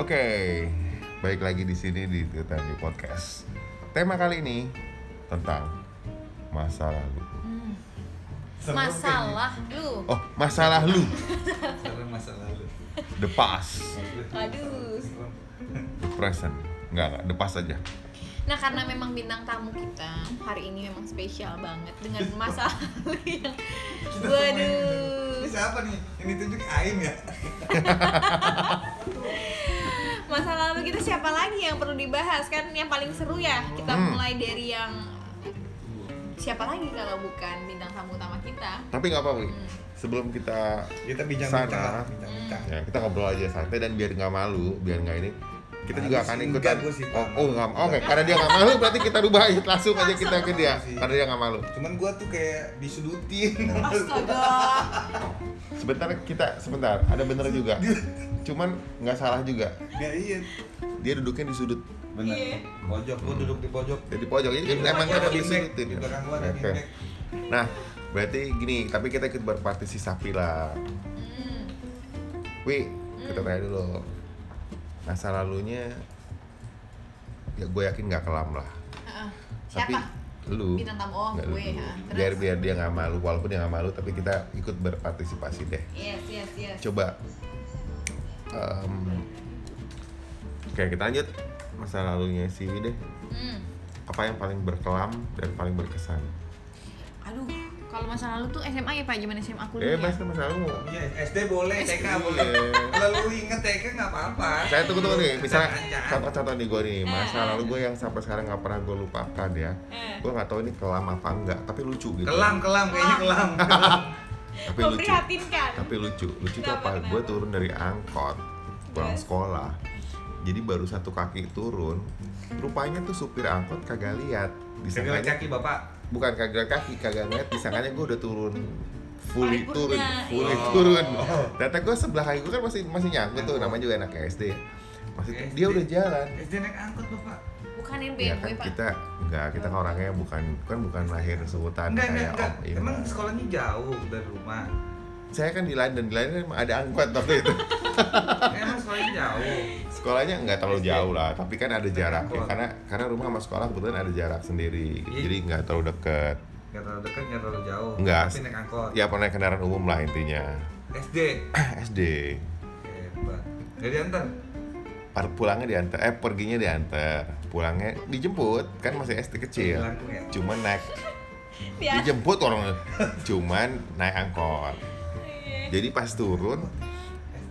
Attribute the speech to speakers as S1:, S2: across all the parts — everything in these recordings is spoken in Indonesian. S1: Oke, baik lagi di sini di Tirta di Podcast. Tema kali ini tentang masa lalu.
S2: Masalah lu.
S1: Oh, masalah lu,
S3: Serem masa lalu.
S1: the past,
S2: Aduh.
S3: Serem.
S1: the present. Enggak, enggak, the past aja.
S2: Nah, karena memang bintang tamu kita hari ini memang spesial banget dengan masalah yang
S3: Kita
S2: Waduh.
S3: Ini siapa nih? Ini tunjuk Aim ya?
S2: Masa lalu kita siapa lagi yang perlu dibahas kan yang paling seru ya. Kita
S1: Hmm.
S2: mulai dari yang siapa lagi kalau bukan bintang tamu utama kita.
S1: Tapi nggak apa-apa, Wi. sebelum kita
S3: Kita bincang-bincang
S1: Sana.
S3: lah, bincang-bincang.
S1: ya, kita ngobrol aja santai dan biar nggak malu, biar nggak ini. Kita juga
S3: Aku
S1: akan
S3: sih
S1: ikutan.
S3: enggak, Ah, gua sih,
S1: oh,
S3: Pak.
S1: oh, nggak- oke. Karena dia nggak malu, berarti kita rubah langsung aja kita ke dia.
S3: Langsung.
S1: Karena dia nggak malu.
S3: Cuman gua tuh kayak disudutin.
S2: Astaga.
S1: Sebentar kita sebentar, ada bener juga. Cuman nggak salah juga.
S3: Ya iya.
S1: Dia duduknya di sudut
S3: Benar.
S2: Iya.
S3: Pojok gua duduk di pojok.
S1: jadi pojok ini kan emang
S3: Gua
S1: ada
S3: ada beanbag.
S1: disurutin
S3: Di
S1: ya.
S3: belakang gua ada
S1: Oke.
S3: beanbag.
S1: Nah, berarti gini, tapi kita ikut berpartisipasi lah.
S2: Hmm.
S1: Wi, kita tanya dulu. Masa lalunya ya gue yakin nggak kelam lah.
S2: Heeh.
S1: Tapi
S2: Siapa?
S1: lu
S2: Bintang tamu oh
S1: nggak
S2: gue
S1: lu.
S2: ya.
S1: biar biar dia nggak malu walaupun dia nggak malu tapi kita ikut berpartisipasi deh
S2: Yes, yes, yes.
S1: coba em, oke kita lanjut masa lalunya si Wi deh
S2: Hmm.
S1: apa yang paling berkelam dan paling berkesan
S2: Aduh, kalau masa lalu tuh SMA ya Pak, zaman SMA aku
S1: eh
S2: dulu.
S1: mas
S2: ya?
S1: masa lalu mau
S3: Iya, SD boleh, TK boleh.
S1: Iya.
S3: Kalau lu inget TK nggak apa-apa.
S1: saya tunggu tunggu nih misalnya
S3: Jangan-jangan.
S1: contoh-contoh nih gue nih
S2: Eh, eh.
S1: masa lalu gue yang sampai sekarang nggak pernah gue lupakan ya
S2: Eh.
S1: gue nggak tahu ini kelam apa enggak tapi lucu gitu
S3: Kelam, kelam, kayaknya kelam. kelam.
S1: tapi lucu
S2: Memprihatinkan.
S1: tapi lucu lucu tuh
S2: Kenapa,
S1: apa
S2: kenapa?
S1: gue turun dari angkot pulang
S2: Terus?
S1: sekolah jadi baru satu kaki turun rupanya tuh supir angkot kagak lihat
S3: Segala
S1: disangkanya
S3: caki bapak.
S1: bukan kagak kaki kagak ngeliat disangkanya gue udah turun fully
S2: Paripurna,
S1: turun
S2: iya.
S1: fully
S3: Oh.
S1: turun ternyata gue sebelah kaki gue kan masih masih nyangkut tuh namanya juga anak SD masih
S3: SD.
S1: dia udah jalan
S3: SD naik angkot bapak.
S2: Bukanin BMW,
S1: Ya kan
S2: Pak.
S1: kita enggak kita kan orangnya bukan kan bukan lahir seutan
S3: Enggak, enggak,
S1: kayak
S3: enggak.
S1: Om Ima.
S3: Emang sekolahnya jauh dari rumah.
S1: Saya kan di London, di London emang ada angkot waktu itu.
S3: Emang sekolahnya jauh.
S1: Sekolahnya enggak terlalu
S3: SD.
S1: jauh lah, tapi kan ada jarak ya,
S3: angkot.
S1: karena karena rumah sama sekolah kebetulan ada jarak sendiri.
S3: Iya.
S1: Jadi enggak terlalu dekat.
S3: Gak terlalu dekat, gak terlalu jauh.
S1: Enggak.
S3: Tapi naik angkot.
S1: Ya pernah kendaraan umum lah intinya.
S3: SD.
S1: SD.
S3: Hebat. Jadi antar.
S1: Par- Pulangnya diantar, eh perginya diantar, pulangnya dijemput, kan masih SD kecil.
S3: Langkung ya.
S1: Cuman naik
S2: Ya.
S1: dijemput orangnya, cuman naik angkot.
S2: Iya.
S1: Jadi pas turun,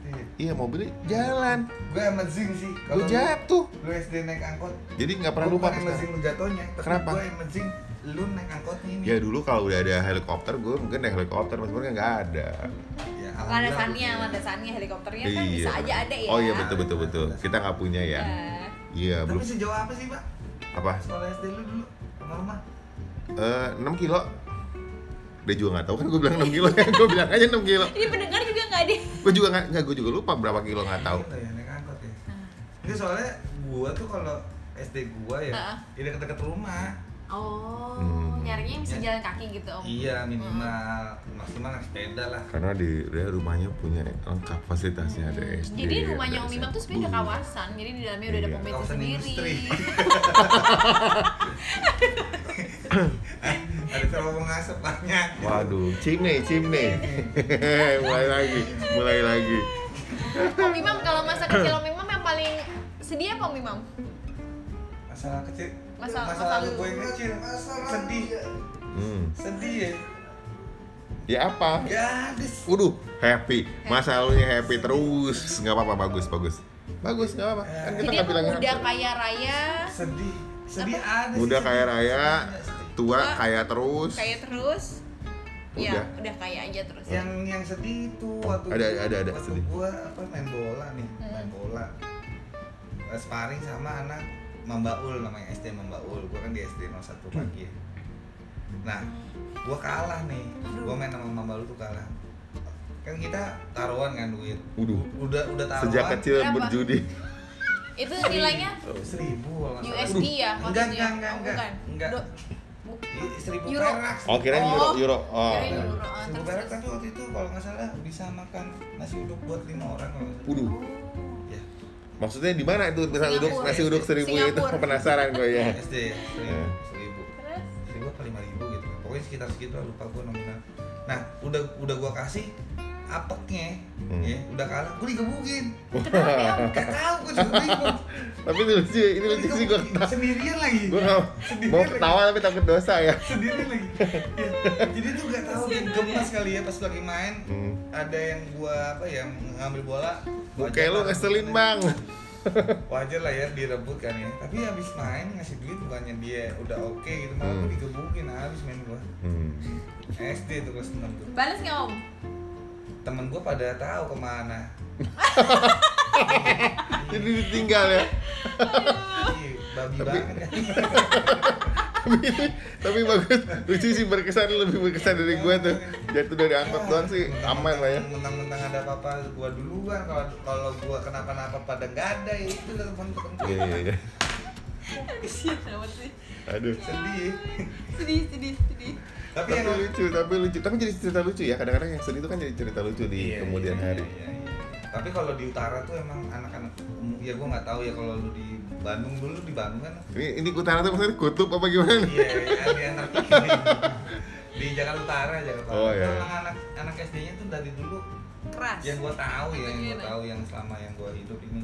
S3: SD.
S1: iya mobilnya jalan.
S3: Gue sama Zing sih.
S1: Gue
S3: lu-
S1: jatuh.
S3: Lu SD naik angkot.
S1: Jadi nggak pernah
S3: gua
S1: lupa
S3: bukan
S1: tuh
S3: yang
S1: sekarang.
S3: Zing lu jatuhnya. Tapi
S1: Kenapa?
S3: Gue yang Zing lu naik angkotnya ini.
S1: Ya dulu kalau udah ada helikopter, gue mungkin naik helikopter, mas sebenarnya nggak ada.
S3: Ya, alhamdulillah.
S2: Landasannya, landasannya helikopternya kan bisa aja ada ya.
S1: Oh iya betul betul betul. Kita nggak punya ya.
S2: Ya.
S1: Iya
S3: Tapi
S1: belum
S3: sejauh apa sih, Pak?
S1: apa?
S3: Sekolah SD lu dulu sama rumah.
S1: Eh 6 kilo. Dia juga nggak tahu kan gue bilang 6 kilo ya. gue bilang aja 6 kilo.
S2: Ini pendengar juga nggak deh.
S1: Gue juga nggak nggak gue juga lupa berapa kilo nggak tahu.
S3: Gitu ya, naik angkot ya. Ini soalnya gua tuh kalau SD gua ya,
S2: Heeh.
S3: ya deket-deket rumah.
S2: Oh,
S1: Hmm.
S2: nyarinya yang bisa
S3: Ya.
S2: jalan kaki gitu om.
S3: Iya, minimal maksimal naik sepeda lah.
S1: Karena di dia rumahnya punya lengkap fasilitasnya ada SD.
S2: Jadi rumahnya
S1: ada
S2: Om Imam tuh
S1: SMP.
S2: sebenarnya ada kawasan, jadi di dalamnya udah ada
S1: Iya.
S2: pom bensin
S3: Kawasan
S2: sendiri.
S3: industri. Ada terowong asap banyak.
S1: Waduh, cimne, cimne. mulai lagi, mulai lagi.
S2: Om Imam kalau masa kecil Om Imam yang paling sedih apa Om Imam?
S3: Masalah kecil.
S2: Masalah-
S3: masalah,
S2: masalah
S3: gue yang kecil. sedih.
S1: Hmm.
S3: Sedih ya.
S1: Ya apa?
S3: Ya, dis.
S1: Waduh, happy. Masa lalunya happy terus. Nggak apa-apa, bagus, bagus. Bagus, nggak apa-apa. Kan kita
S2: Jadi
S1: nggak
S2: emang
S1: bilangin
S2: udah
S1: apa.
S2: kaya raya,
S3: Sedih. Sedih ada sih,
S1: Muda
S3: sedih.
S1: kaya raya,
S3: Sedih.
S1: tua
S2: Tua.
S1: kaya terus.
S2: kaya terus. Ya,
S1: Udah.
S2: udah kaya aja terus.
S3: yang yang sedih itu waktu
S1: Ada- ada- ada
S3: waktu
S1: sedih.
S3: gua apa main bola nih
S2: Hmm.
S3: main bola Eh, sparring sama anak Mambaul namanya SD Mambaul gua kan di SD 01 pagi ya. nah gua kalah nih gua main sama Mambaul tuh kalah kan kita taruhan kan duit
S1: Waduh.
S3: udah udah taruhan
S1: Sejak kecil
S2: Berapa?
S1: berjudi.
S2: Itu nilainya
S3: Oh, seribu kalau nggak salah.
S2: USD ya
S3: Enggak,
S2: maksudnya?
S3: enggak, enggak,
S2: Oh,
S3: enggak.
S2: bukan.
S3: Enggak.
S2: Do- bu-
S3: I- seribu
S2: Euro.
S3: perak
S1: Oh, kirain euro,
S2: Oh.
S1: euro. Oh.
S2: Kirain euro. Ah,
S3: seribu
S2: terus,
S3: perak
S2: terus.
S3: tapi kan waktu itu kalau nggak salah bisa makan nasi uduk buat lima orang kalau nggak salah.
S1: Waduh.
S3: ya
S1: Maksudnya di mana itu misal uduk
S2: Singapura.
S1: nasi uduk seribu itu
S2: Singapura.
S1: penasaran gue ya.
S3: SD ya, seribu,
S1: Iya.
S3: seribu.
S2: Terus?
S3: seribu apa lima ribu gitu pokoknya sekitar segitu lah, lupa gue nominal nah udah udah gue kasih apeknya
S1: Hmm.
S3: ya udah kalah gue digebukin
S2: Kenapa
S3: gak tau gue juga bingung
S1: Tapi ini lucu, ini
S3: Gua
S1: lucu sih gue
S3: digebukin. sendirian lagi
S1: gue nggak mau ketawa tapi takut dosa ya.
S3: sendirian lagi Ya, jadi tuh gak tau dia gemes kali ya pas lagi main
S1: Hmm.
S3: ada yang gue apa ya ngambil bola
S1: Oke
S3: wajar
S1: lu
S3: lah.
S1: ngeselin bang.
S3: wajar lah ya direbut kan ya tapi habis main ngasih duit bukannya dia udah oke gitu malah
S1: Hmm.
S3: gue digebukin habis main gue
S1: Hmm.
S3: SD tuh kelas 6 tuh
S2: Balas nggak om?
S3: temen gue pada tahu kemana
S1: Jadi ditinggal ya.
S3: Ih, babi
S1: Tapi-
S3: banget kan.
S1: Tapi bagus, lucu sih berkesan lebih berkesan dari gue tuh. Jatuh dari angkot doang sih aman lah ya.
S3: mentang-mentang ada apa-apa gue duluan kalau kalau gue kenapa-napa pada nggak ada ya itu lah temen-temen
S1: Iya iya iya.
S2: Kesian amat sih.
S1: Aduh.
S3: sedih
S2: Sedih, sedih, sedih.
S3: tapi
S1: Tapi
S3: yang
S1: lucu, tapi lucu. Tapi jadi cerita lucu ya. Kadang-kadang yang sedih itu kan jadi cerita lucu di kemudian hari.
S3: iya, iya. tapi kalau di utara tuh emang anak-anak ya gue nggak tahu ya kalau lu di Bandung dulu di Bandung kan
S1: Ini ini utara tuh maksudnya kutub apa gimana?
S3: iya iya, di anak di Jakarta Utara Jakarta Utara
S1: Oh, iya.
S3: Emang anak anak SD-nya tuh dari dulu
S2: Keras.
S3: yang gue tahu ya yang gue
S2: Gimana?
S3: tahu yang selama yang gue hidup ini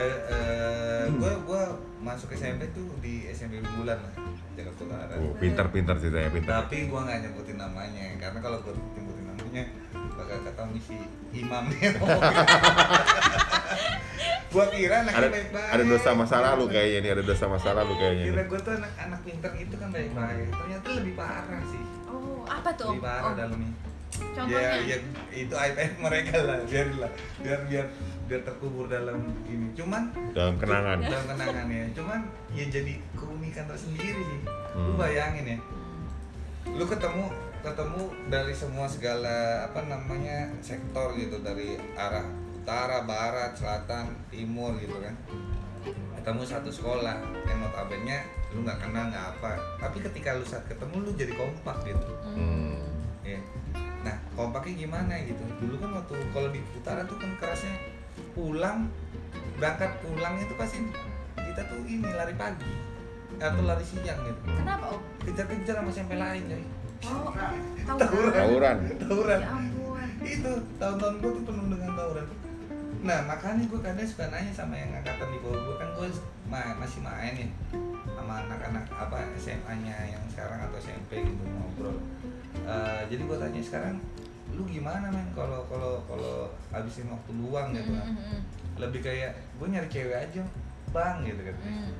S3: eh, eh, gue gue masuk SMP tuh di SMP Bulan lah Jakarta Utara
S1: Oh, pintar-pintar sih saya pintar.
S3: tapi gue nggak nyebutin namanya karena kalau gue nyebutin namanya bakal ketahuan si imamnya gue kira
S1: Ada
S3: anaknya baik-baik
S1: ada dosa masa lalu kayaknya ini ada dosa masa lalu kayaknya. ini.
S3: kira gue tuh anak anak pinter itu kan
S1: Hmm.
S3: baik-baik ternyata lebih parah sih
S2: Oh, apa tuh?
S3: lebih parah
S2: Om?
S3: dalamnya
S2: Contohnya.
S3: Ya, ya itu iPad mereka lah, biarlah, biar biar biar terkubur dalam ini. Cuman
S1: Dalam kenangan.
S3: dalam kenangan ya. Cuman ya jadi keunikan tersendiri sih.
S1: Hmm.
S3: Lu bayangin ya, lu ketemu ketemu dari semua segala apa namanya sektor gitu dari arah utara, barat, selatan, timur gitu kan. Ketemu satu sekolah yang notabene lu nggak kenal nggak apa, tapi ketika lu saat ketemu lu jadi kompak gitu
S2: Hmm.
S1: Hmm.
S3: ya nah kompaknya gimana gitu dulu kan waktu kalau di utara tuh kan kerasnya pulang berangkat pulang itu pasti kita tuh ini lari pagi atau lari siang gitu
S2: Kenapa om?
S3: kejar-kejar sama SMP lain coy
S2: Oh, tawuran.
S1: Tawuran.
S3: tawuran
S2: Ya ampun.
S3: itu tahun-tahun gue tuh penuh dengan tawuran nah makanya gue kadang suka nanya sama yang angkatan di bawah gue kan gue ma- masih main ya sama anak-anak apa SMA nya yang sekarang atau SMP gitu ngobrol Eh, jadi gue tanya sekarang lu gimana men kalau kalau kalau habisin waktu luang gitu kan
S2: Mm-mm.
S3: lebih kayak gue nyari cewek aja bang gitu kan
S2: Mm.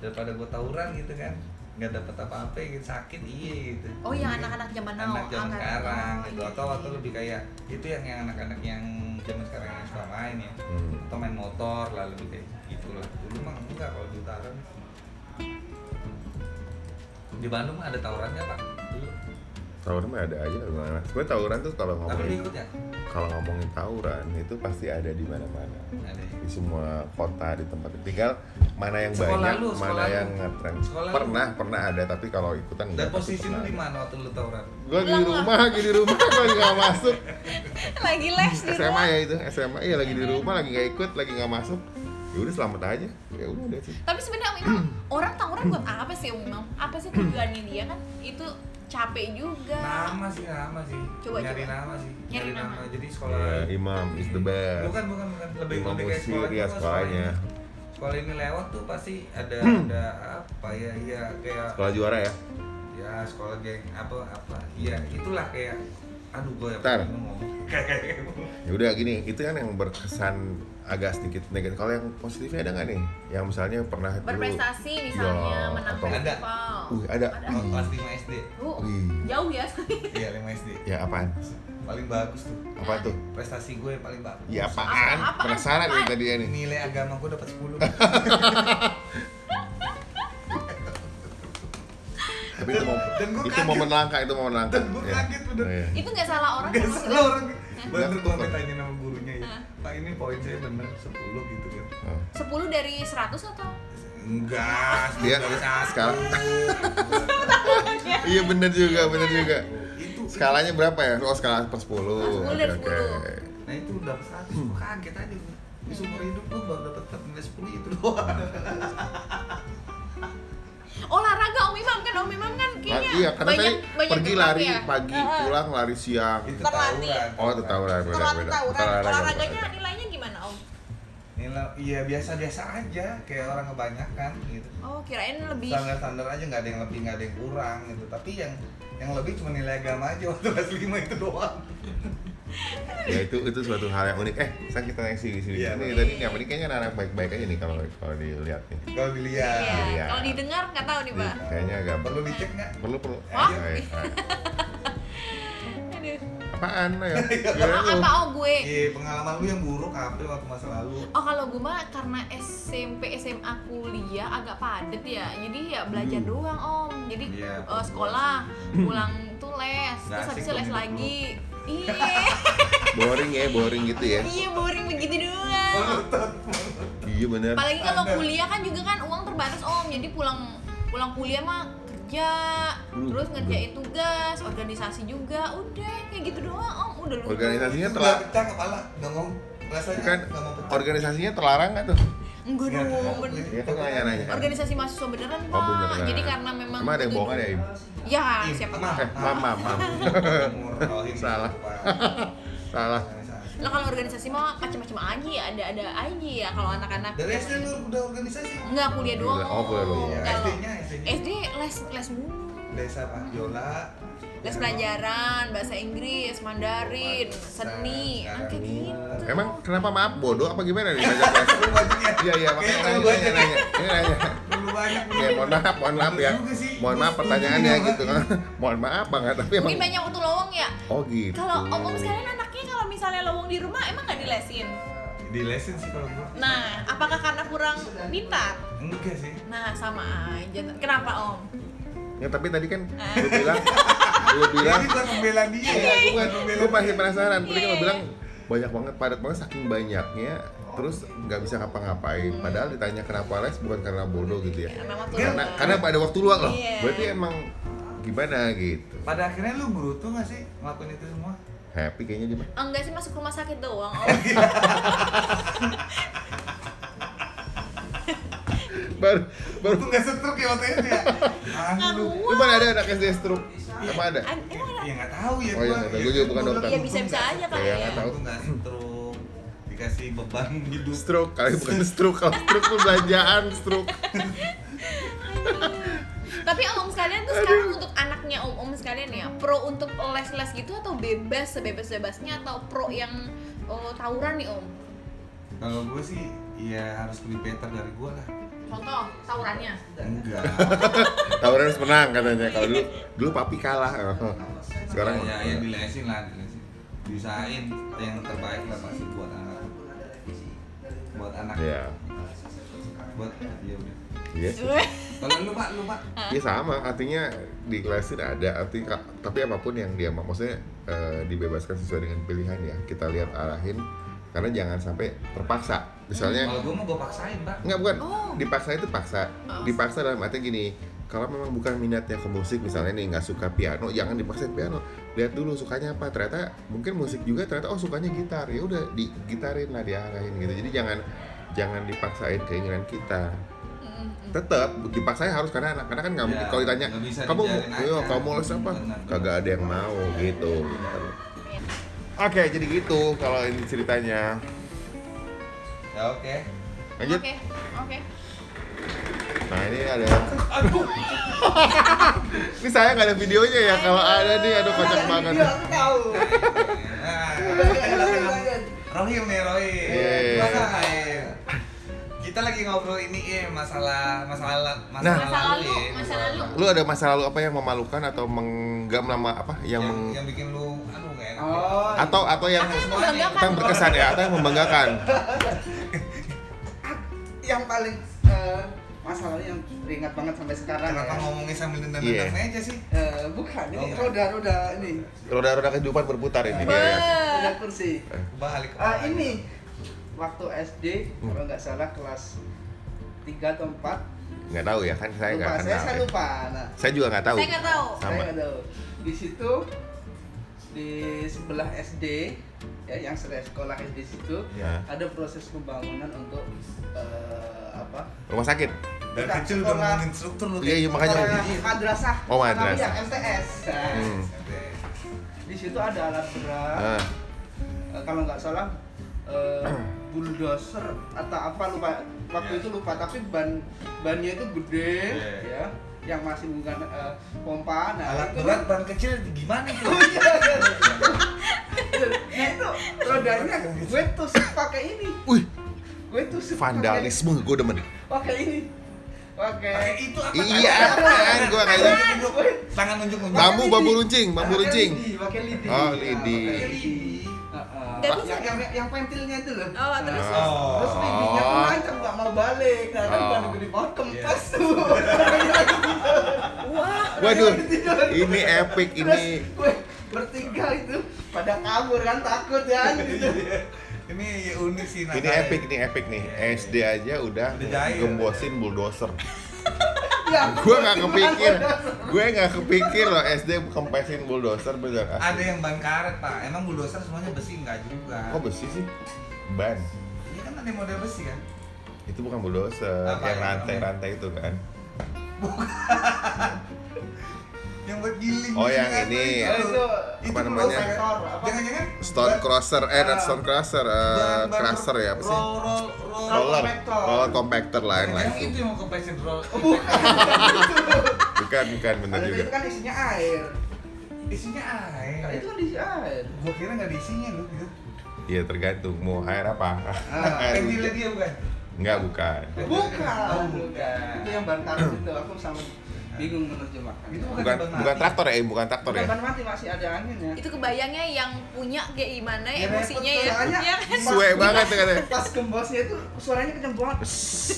S3: daripada gue tawuran gitu kan nggak dapet apa-apa gitu sakit iya gitu
S2: Oh, yang anak-anak zaman now.
S3: anak zaman
S2: angkat.
S3: sekarang
S2: Oh,
S3: gitu
S2: iya,
S3: atau
S2: iya.
S3: atau lebih kayak itu yang yang anak-anak yang zaman sekarang yang suka main ya
S1: Hmm.
S3: atau main motor lah lebih kayak gitulah dulu mah enggak kalau di utara mah. di Bandung mah ada tawurannya pak dulu
S1: Tawuran mah ada aja gimana? Sebenarnya tawuran tuh kalau
S3: tapi lu
S1: ngomongin
S3: ikut ya
S1: kalau ngomongin tawuran itu pasti ada di mana-mana.
S3: ada ya?
S1: Di semua kota di tempat tinggal mana yang
S3: Sekolah
S1: banyak,
S3: lu,
S1: mana
S3: sekolah lu.
S1: yang ngetren.
S3: Sekolah lu.
S1: Pernah, pernah ada tapi kalau ikutan
S3: dan
S1: enggak. tapi
S3: posisi lu
S1: pernah
S3: di
S1: ada.
S3: mana waktu lu tawuran
S1: Gua di
S2: Pulang lah.
S1: rumah, lagi di rumah, gua nggak masuk.
S2: Lagi les di
S1: SMA
S2: rumah.
S1: ya itu, SMA ya lagi di rumah, lagi nggak ikut, lagi nggak masuk. Ya udah selamat aja. Ya udah udah sih.
S2: Tapi sebenarnya Om Imam, orang tawuran buat apa sih Om Imam? Apa sih tujuannya dia kan? Itu capek juga.
S3: nama sih nama sih
S2: Coba,
S3: nyari
S2: coba.
S3: nama sih
S2: Nyari nama.
S3: jadi sekolah
S1: Ya, imam is the best.
S3: bukan bukan bukan lebih
S1: Imam
S3: lebih kayak
S1: Musyid,
S3: sekolah
S1: ya,
S3: juga,
S1: sekolahnya. Hmm.
S3: sekolah- sekolah ini lewat tuh pasti ada ada apa ya ya kayak
S1: Sekolah juara ya.
S3: ya sekolah geng apa apa ya itulah kayak aduh gue yang
S1: Bentar.
S3: ngomong kayak
S1: Ya udah gini, itu kan yang berkesan agak sedikit negatif. Kalau yang positifnya ada nggak nih? Yang misalnya pernah dulu-
S2: Berprestasi misalnya,
S1: Ya,
S2: menang
S1: atau-
S3: Ada.
S2: festival.
S1: Wih, ada.
S3: Oh, kelas 5 SD
S2: Oh,
S1: Wih.
S2: jauh ya.
S3: iya 5 SD
S1: Ya apaan?
S3: paling bagus tuh
S1: Apa tuh?
S3: prestasi gue paling bagus
S1: Ya apaan?
S2: Apaan?
S1: Penasaran nih
S2: Apaan?
S1: tadi ya nih.
S3: nilai agama gue dapat 10
S1: Tapi itu mau
S3: Dan gua
S1: itu
S3: kaget.
S1: momen langka, itu momen langka.
S3: Dan gua
S1: Ya.
S3: kaget bener.
S1: Iya.
S2: Itu nggak salah orang
S3: Gak
S2: kalau
S3: salah orang Bener
S1: Nggak,
S3: gue
S1: bukan.
S3: tanya nama gurunya ya
S2: Hah?
S3: Pak ini poin saya bener 10 gitu kan
S1: Oh.
S2: sudah 10 dari 100 atau?
S3: Enggak,
S1: Dia
S3: dari satu.
S1: sekarang- Iya bener juga, bener juga.
S3: itu
S1: Skalanya berapa ya? Oh skala per 10.
S2: Oh, 10 dari
S1: Oke, oke.
S2: 10.
S1: Hmm.
S3: Nah itu udah satu, gua kaget aja gue. di seumur hidup gue baru dapat nilai 10 itu doang
S1: Hmm.
S2: olahraga Om Imam kan Om Imam kan
S1: Lah,
S2: kayaknya
S1: iya, karena
S2: banyak
S1: tadi
S2: banyak
S1: pergi
S2: gerak
S1: lari
S2: ya.
S1: pagi,
S2: Heeh.
S1: pulang lari siang.
S3: itu
S2: Terlatih.
S3: tawuran
S1: Oh, itu tawuran beda
S2: Kalau
S1: beda.
S2: tawuran,
S1: Olahraga,
S2: olahraganya
S1: olahraga.
S2: nilainya gimana Om?
S3: nilai iya biasa biasa aja kayak orang kebanyakan gitu
S2: Oh kirain lebih
S3: standar standar aja nggak ada yang lebih nggak ada yang kurang gitu tapi yang yang lebih cuma nilai agama aja waktu kelas lima itu doang
S1: Ya itu itu suatu hal yang unik. Eh, sekarang kita eksibisi sini.
S3: Iya.
S1: Ini tadi nih apa nih kayaknya anak baik-baik aja nih kalau kalau dilihat nih.
S3: kalau dilihat
S2: Iya,
S1: Iya.
S2: kalau didengar nggak tahu nih Pak.
S1: Kayaknya agak
S3: perlu dicek nggak
S1: perlu perlu.
S3: Wah.
S1: Eh, eh.
S2: Aduh.
S1: Apaan ya?
S2: Apa apa oh gue?
S3: Iya, pengalaman lu yang buruk apa waktu masa lalu?
S2: Oh kalau gue mah karena SMP SMA kuliah agak padet ya, jadi ya belajar
S1: Hmm.
S2: doang om. Jadi
S3: Iya. Hmm.
S2: eh, sekolah pulang tuh les, terus
S3: asik
S2: habis itu
S3: dong
S2: les
S3: hidup
S2: lagi. Iya,
S1: Boring ya, boring gitu ya.
S2: iya boring begitu
S3: Oh,
S2: doang.
S1: Iya bener.
S2: Apalagi kalau kuliah kan juga kan uang terbatas om, jadi pulang pulang kuliah mah kerja,
S1: Hmm.
S2: terus ngerjain tugas, organisasi juga, udah kayak gitu doang om, udah lu.
S1: Organisasinya
S3: Nggak
S1: telah
S3: pecah kepala, nggak mau rasanya
S1: kan bukan
S3: nggak mau pecah.
S1: organisasinya telarang nggak tuh?
S2: Enggak
S3: Nggak
S2: dong,
S3: mau.
S2: bener. Ah,
S1: Iya kan nanya-nanya.
S2: Organisasi mahasiswa beneran
S1: Oh
S2: Pak.
S1: beneran.
S2: Jadi karena memang
S1: Emang ada yang
S2: butuh-
S1: bohongan ya, Im?
S2: Ya,
S3: Ih,
S2: siapa
S3: tenang.
S2: tahu.
S1: Eh, mam, mam, mam.
S3: Murahin
S1: Salah.
S3: gitu, Pak.
S1: Salah.
S3: Organisasi.
S2: Lah kalau organisasi mah macam-macam aja, ada ada aja ya kalau anak-anak.
S3: Dari SD lu udah organisasi?
S2: Enggak kuliah doang.
S1: Gila, oh, kuliah doang.
S3: Iya,
S2: Kalau
S3: SD-nya, SD-nya.
S2: SD les les mulu.
S3: Desa Panjola.
S2: Les pelajaran, bahasa Inggris, Mandarin, seni, ah, kayak gitu.
S1: iya. Emang kenapa maaf bodoh apa gimana nih? Banyak banget.
S3: Lu banyak ya?
S1: Iya iya makanya
S3: Kayaknya
S1: nanya,
S3: lu
S1: nanya
S3: banyak.
S1: nanya. Ini nanya.
S3: Lu banyak. lu.
S1: Ya mohon maaf, mohon maaf ya.
S3: Juga sih, Iya.
S1: Mohon maaf
S3: gua setuju
S1: pertanyaannya
S3: juga.
S1: gitu kan. Mohon maaf banget tapi iya, emang
S2: Mungkin banyak waktu lowong ya.
S1: Oh gitu.
S2: Kalau omong sekalian anaknya kalau misalnya lowong di rumah emang nggak dilesin.
S3: Di lesin sih kalau gua.
S2: Nah, apakah karena kurang pintar?
S3: Enggak sih.
S2: Nah, sama aja. Kenapa om?
S1: Ya tapi tadi kan lu bilang lu bilang
S3: Jadi bukan membela
S1: Iya,
S3: dia ya, bukan membela
S1: lu masih penasaran. Tadi kan lu
S2: Iya.
S1: bilang banyak banget padat banget saking banyaknya terus nggak bisa ngapa-ngapain
S2: Hmm.
S1: padahal ditanya kenapa les bukan karena bodoh gitu
S3: Iya.
S1: ya
S2: Karena waktu
S1: karena
S2: luang.
S1: karena ada waktu luang loh
S2: Iya.
S1: berarti emang gimana gitu
S3: Pada akhirnya lu beruntung gak sih ngelakuin itu semua?
S1: happy kayaknya dia mah.
S2: Enggak sih masuk rumah sakit doang. Om.
S1: Iya. baru baru
S3: Beruntung gak setruk ya waktu itu ya? Ah, lu.
S1: lu mana ada anak SD stroke apa ada
S2: An- Emang
S3: Ya nggak tahu ya
S1: Oh, iya, nggak tahu. Gua juga bukan dokter.
S2: Iya bisa-bisa aja kali
S1: Iya,
S2: ya.
S1: nggak tahu.
S3: Aku nggak stroke dikasih beban gitu. hidup.
S1: stroke kali bukan stroke kalau stroke tuh belanjaan stroke
S2: Tapi om sekalian tuh sekarang untuk anaknya om om sekalian ya pro untuk les-les gitu atau bebas sebebas-bebasnya atau pro yang oh, tawuran nih om.
S3: Kalau gue sih ya harus lebih better dari gue lah.
S2: Contoh tawurannya.
S3: Enggak.
S1: tawuran harus menang katanya kalau dulu dulu papi kalah sekarang
S3: ya, ya dilesin lah, dilesin. Bisain yang terbaik lah pasti buat anak. Buat anak.
S1: ya
S3: Buat ya udah.
S1: iya sih.
S3: Kalau lu pak, lu pak.
S1: Iya sama artinya di kelasin ada arti ka- tapi apapun yang dia mau maksudnya eh, dibebaskan sesuai dengan pilihan ya kita lihat arahin karena jangan sampai terpaksa misalnya
S3: Kalau gue mau gue paksain pak.
S1: Enggak bukan.
S2: Oh.
S1: Dipaksa itu paksa.
S2: Oh.
S1: Dipaksa dalam arti gini. Kalau memang bukan minatnya ke musik misalnya nih nggak suka piano, jangan dipaksa piano. Lihat dulu sukanya apa. Ternyata mungkin musik juga ternyata oh sukanya gitar. Ya udah digitarin lah diarahin gitu. Jadi jangan jangan dipaksain keinginan kita. Tetap dipaksain harus karena anak karena kan nggak mungkin
S3: Ya,
S1: kalau ditanya
S3: nggak bisa
S1: kamu
S3: dibiarin
S1: yo,
S3: aja."
S1: kamu les apa?
S3: Benar.
S1: Kagak ada yang mau gitu. Oke, jadi gitu kalau ini ceritanya.
S3: Ya oke.
S1: Lanjut.
S2: Oke oke.
S1: Nah ini ada. ini saya nggak ada videonya ya. Kalau ada nih, aduh kocak banget.
S3: Nah, Rohim nih Rohim.
S1: Yeay.
S3: Masa, eh, Kita lagi ngobrol ini eh masalah masalah
S1: Nah.
S3: masalah
S2: Masa lalu,
S3: eh,
S2: masa lalu.
S1: Lu ada masa lalu apa yang memalukan atau meng- nggak melama apa yang,
S3: yang,
S1: meng...
S3: yang bikin lu aduh kayak enak.
S4: Oh,
S1: atau atau yang
S2: Atau
S1: atau yang
S2: yang
S3: semuanya.
S2: membanggakan.
S1: berkesan ya atau yang membanggakan
S4: yang paling eh, masalahnya yang teringat banget sampai sekarang
S3: Kenapa
S4: ya.
S3: ngomongnya sambil
S1: Iya.
S3: nendang-nendang meja sih?
S4: Eh, bukan, ini
S3: Oh.
S4: roda-roda ini,
S1: roda-roda kehidupan berputar ini dia ya.
S4: roda
S2: Be-
S4: kursi.
S3: Balik.
S4: Ah, ini waktu SD
S1: Hmm.
S4: kalau nggak salah kelas 3 atau 4
S1: nggak tahu ya kan saya nggak
S4: lupa saya,
S1: kenal
S4: saya
S1: ya.
S4: lupa. Nah,
S1: saya juga nggak tahu
S2: Saya nggak tahu.
S1: Sama.
S4: saya nggak tahu. Di situ di dari sebelah SD ya yang se- sekolah SD situ
S1: Ya.
S4: ada proses pembangunan untuk eh, apa?
S1: Rumah sakit.
S3: Dari
S4: Bukan,
S3: kecil udah
S4: sekolah.
S3: ngomongin struktur lu
S1: Iya, iya makanya.
S4: Sekolah madrasah. ya,
S1: Oh, madrasah.
S4: Yang MTS. Nah,
S1: Hmm.
S4: Di situ ada alat berat.
S1: Ah,
S4: Eh, kalau nggak salah eh, bulldozer atau apa lupa waktu
S3: Iya.
S4: itu lupa tapi ban bannya itu gede
S3: Iya.
S4: ya yang masih bukan eh, pompa nah
S3: Alat
S4: itu
S3: berat ban kecil gimana tuh?
S4: nah itu rodanya gue tusuk pakai ini
S1: Wih,
S4: gue tusuk pakai-
S1: vandalisme gue demen.
S4: pakai ini
S3: Pakai
S4: pakai
S3: itu apa?
S1: Iya, apaan gue kayaknya.
S4: Tangan nunjuk-
S3: Tangan nunjuk nunjuk.
S1: Bambu, bambu runcing, bambu
S4: pakai
S1: runcing.
S4: lidi, pakai lidi
S1: Oh,
S4: Nah,
S1: lidi.
S4: pakai lidi. Heeh.
S2: Dan terus-
S4: yang, yang, yang pentilnya itu loh
S2: Oh, terus?
S4: Nah. Terus lidinya tuh lancang nggak mau balik Nah, kan karena
S1: Ah. Oh.
S4: udah nunggu di bawah kempes tuh.
S2: Wah,
S1: Waduh, ini epic
S4: Terus
S1: ini.
S4: gue bertiga itu pada kabur kan takut kan gitu.
S3: Ini ya unik sih
S1: Ini
S3: Nathan.
S1: epic, ini epic nih. SD aja udah
S3: Udah jahil.
S1: gembosin bulldozer.
S4: Ya,
S1: Gue nggak kepikir, gue nggak kepikir loh SD kempesin bulldozer bener.
S3: Ada
S1: asli.
S3: yang ban karet pak. Emang bulldozer semuanya besi enggak juga?
S1: Kok besi sih? Ban.
S3: Ini kan ada model besi kan?
S1: Itu bukan bulldozer,
S3: Apa
S1: yang
S3: ya?
S1: rantai-rantai itu kan.
S3: Yang buat giling.
S1: Oh,
S3: gitu
S1: yang
S3: kan?
S1: ini.
S4: Oh, itu
S3: Itu
S1: Apa namanya?
S4: prosesor, apa?
S3: Jangan-jangan
S1: Stone
S3: ban-
S1: crosser, eh not stone crosser, eh,
S3: ban- ban-
S1: crusher ya apa sih?
S3: Roll roll roll.
S1: Roller,
S4: compactor.
S1: roller compactor lain lain.
S3: Yang itu yang mau kompresin roll.
S1: Bukan, bukan bener
S4: Ada
S1: juga.
S4: itu kan isinya air.
S3: Isinya air.
S4: Nah, itu kan isi air.
S3: Gua kira nggak ada isinya lu gitu.
S1: Iya tergantung mau air apa.
S4: Ah,
S1: Air
S3: Pentilnya
S1: hujan.
S3: dia ya, bukan.
S1: Enggak bukan.
S4: Bukan.
S3: Oh, bukan.
S4: Itu yang bahan karet itu aku sama bingung menerjemahkan.
S3: Itu bukan
S1: Bukan
S3: ban
S1: bukan
S3: mati.
S1: traktor ya, bukan traktor ya.
S4: Bukan ban mati masih ada anginnya.
S2: itu kebayangnya yang punya kayak gimana
S4: Ya,
S2: emosinya
S4: repot
S2: ya.
S4: tuh, soalnya
S2: Iya kan?
S1: Suwe banget tuh katanya.
S4: pas gembosnya itu suaranya kenceng banget gitu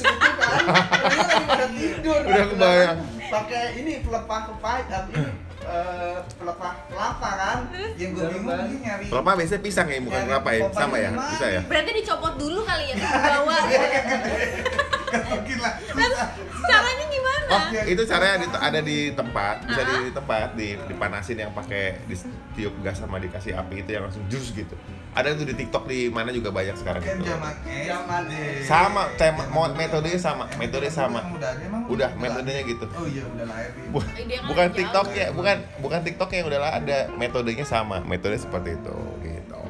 S4: kan Orangnya lagi pada tidur Gitu kan.
S1: Udah kebayang.
S4: pakai ini pelepah kepait apa ini eh, pelepah kelapa kan
S3: Yang gua bingung dia nyari.
S1: Kelapa biasanya pisang ya, bukan
S3: Nyari
S1: kelapa ya.
S3: popang
S1: Sama ya,
S3: yang
S1: bisa ya.
S2: Berarti dicopot dulu kali ya terus dibawa.
S4: Iya,
S3: Gak mungkin lah.
S2: Caranya gimana?
S1: Oh, itu caranya di, ada di tempat, bisa di tempat, di, dipanasin yang pakai ditiup gas sama dikasih api itu yang langsung jus gitu. Ada itu di TikTok di mana juga banyak sekarang
S3: Kan
S1: itu.
S3: zaman
S4: Zaman
S3: SD.
S1: Gitu. Sama, tema,
S3: Zaman
S1: mau-
S3: dulu.
S1: metodenya sama, metodenya
S3: Emang
S1: sama.
S3: emang Udah, ada, emang
S1: Udah, metodenya gitu.
S3: Oh iya, udah lahir.
S1: Bu-
S2: Eh, dia kan
S1: bukan
S2: jauh.
S1: TikTok ya, bukan bukan TikTok yang udah lah ada, metodenya sama, metode seperti itu gitu.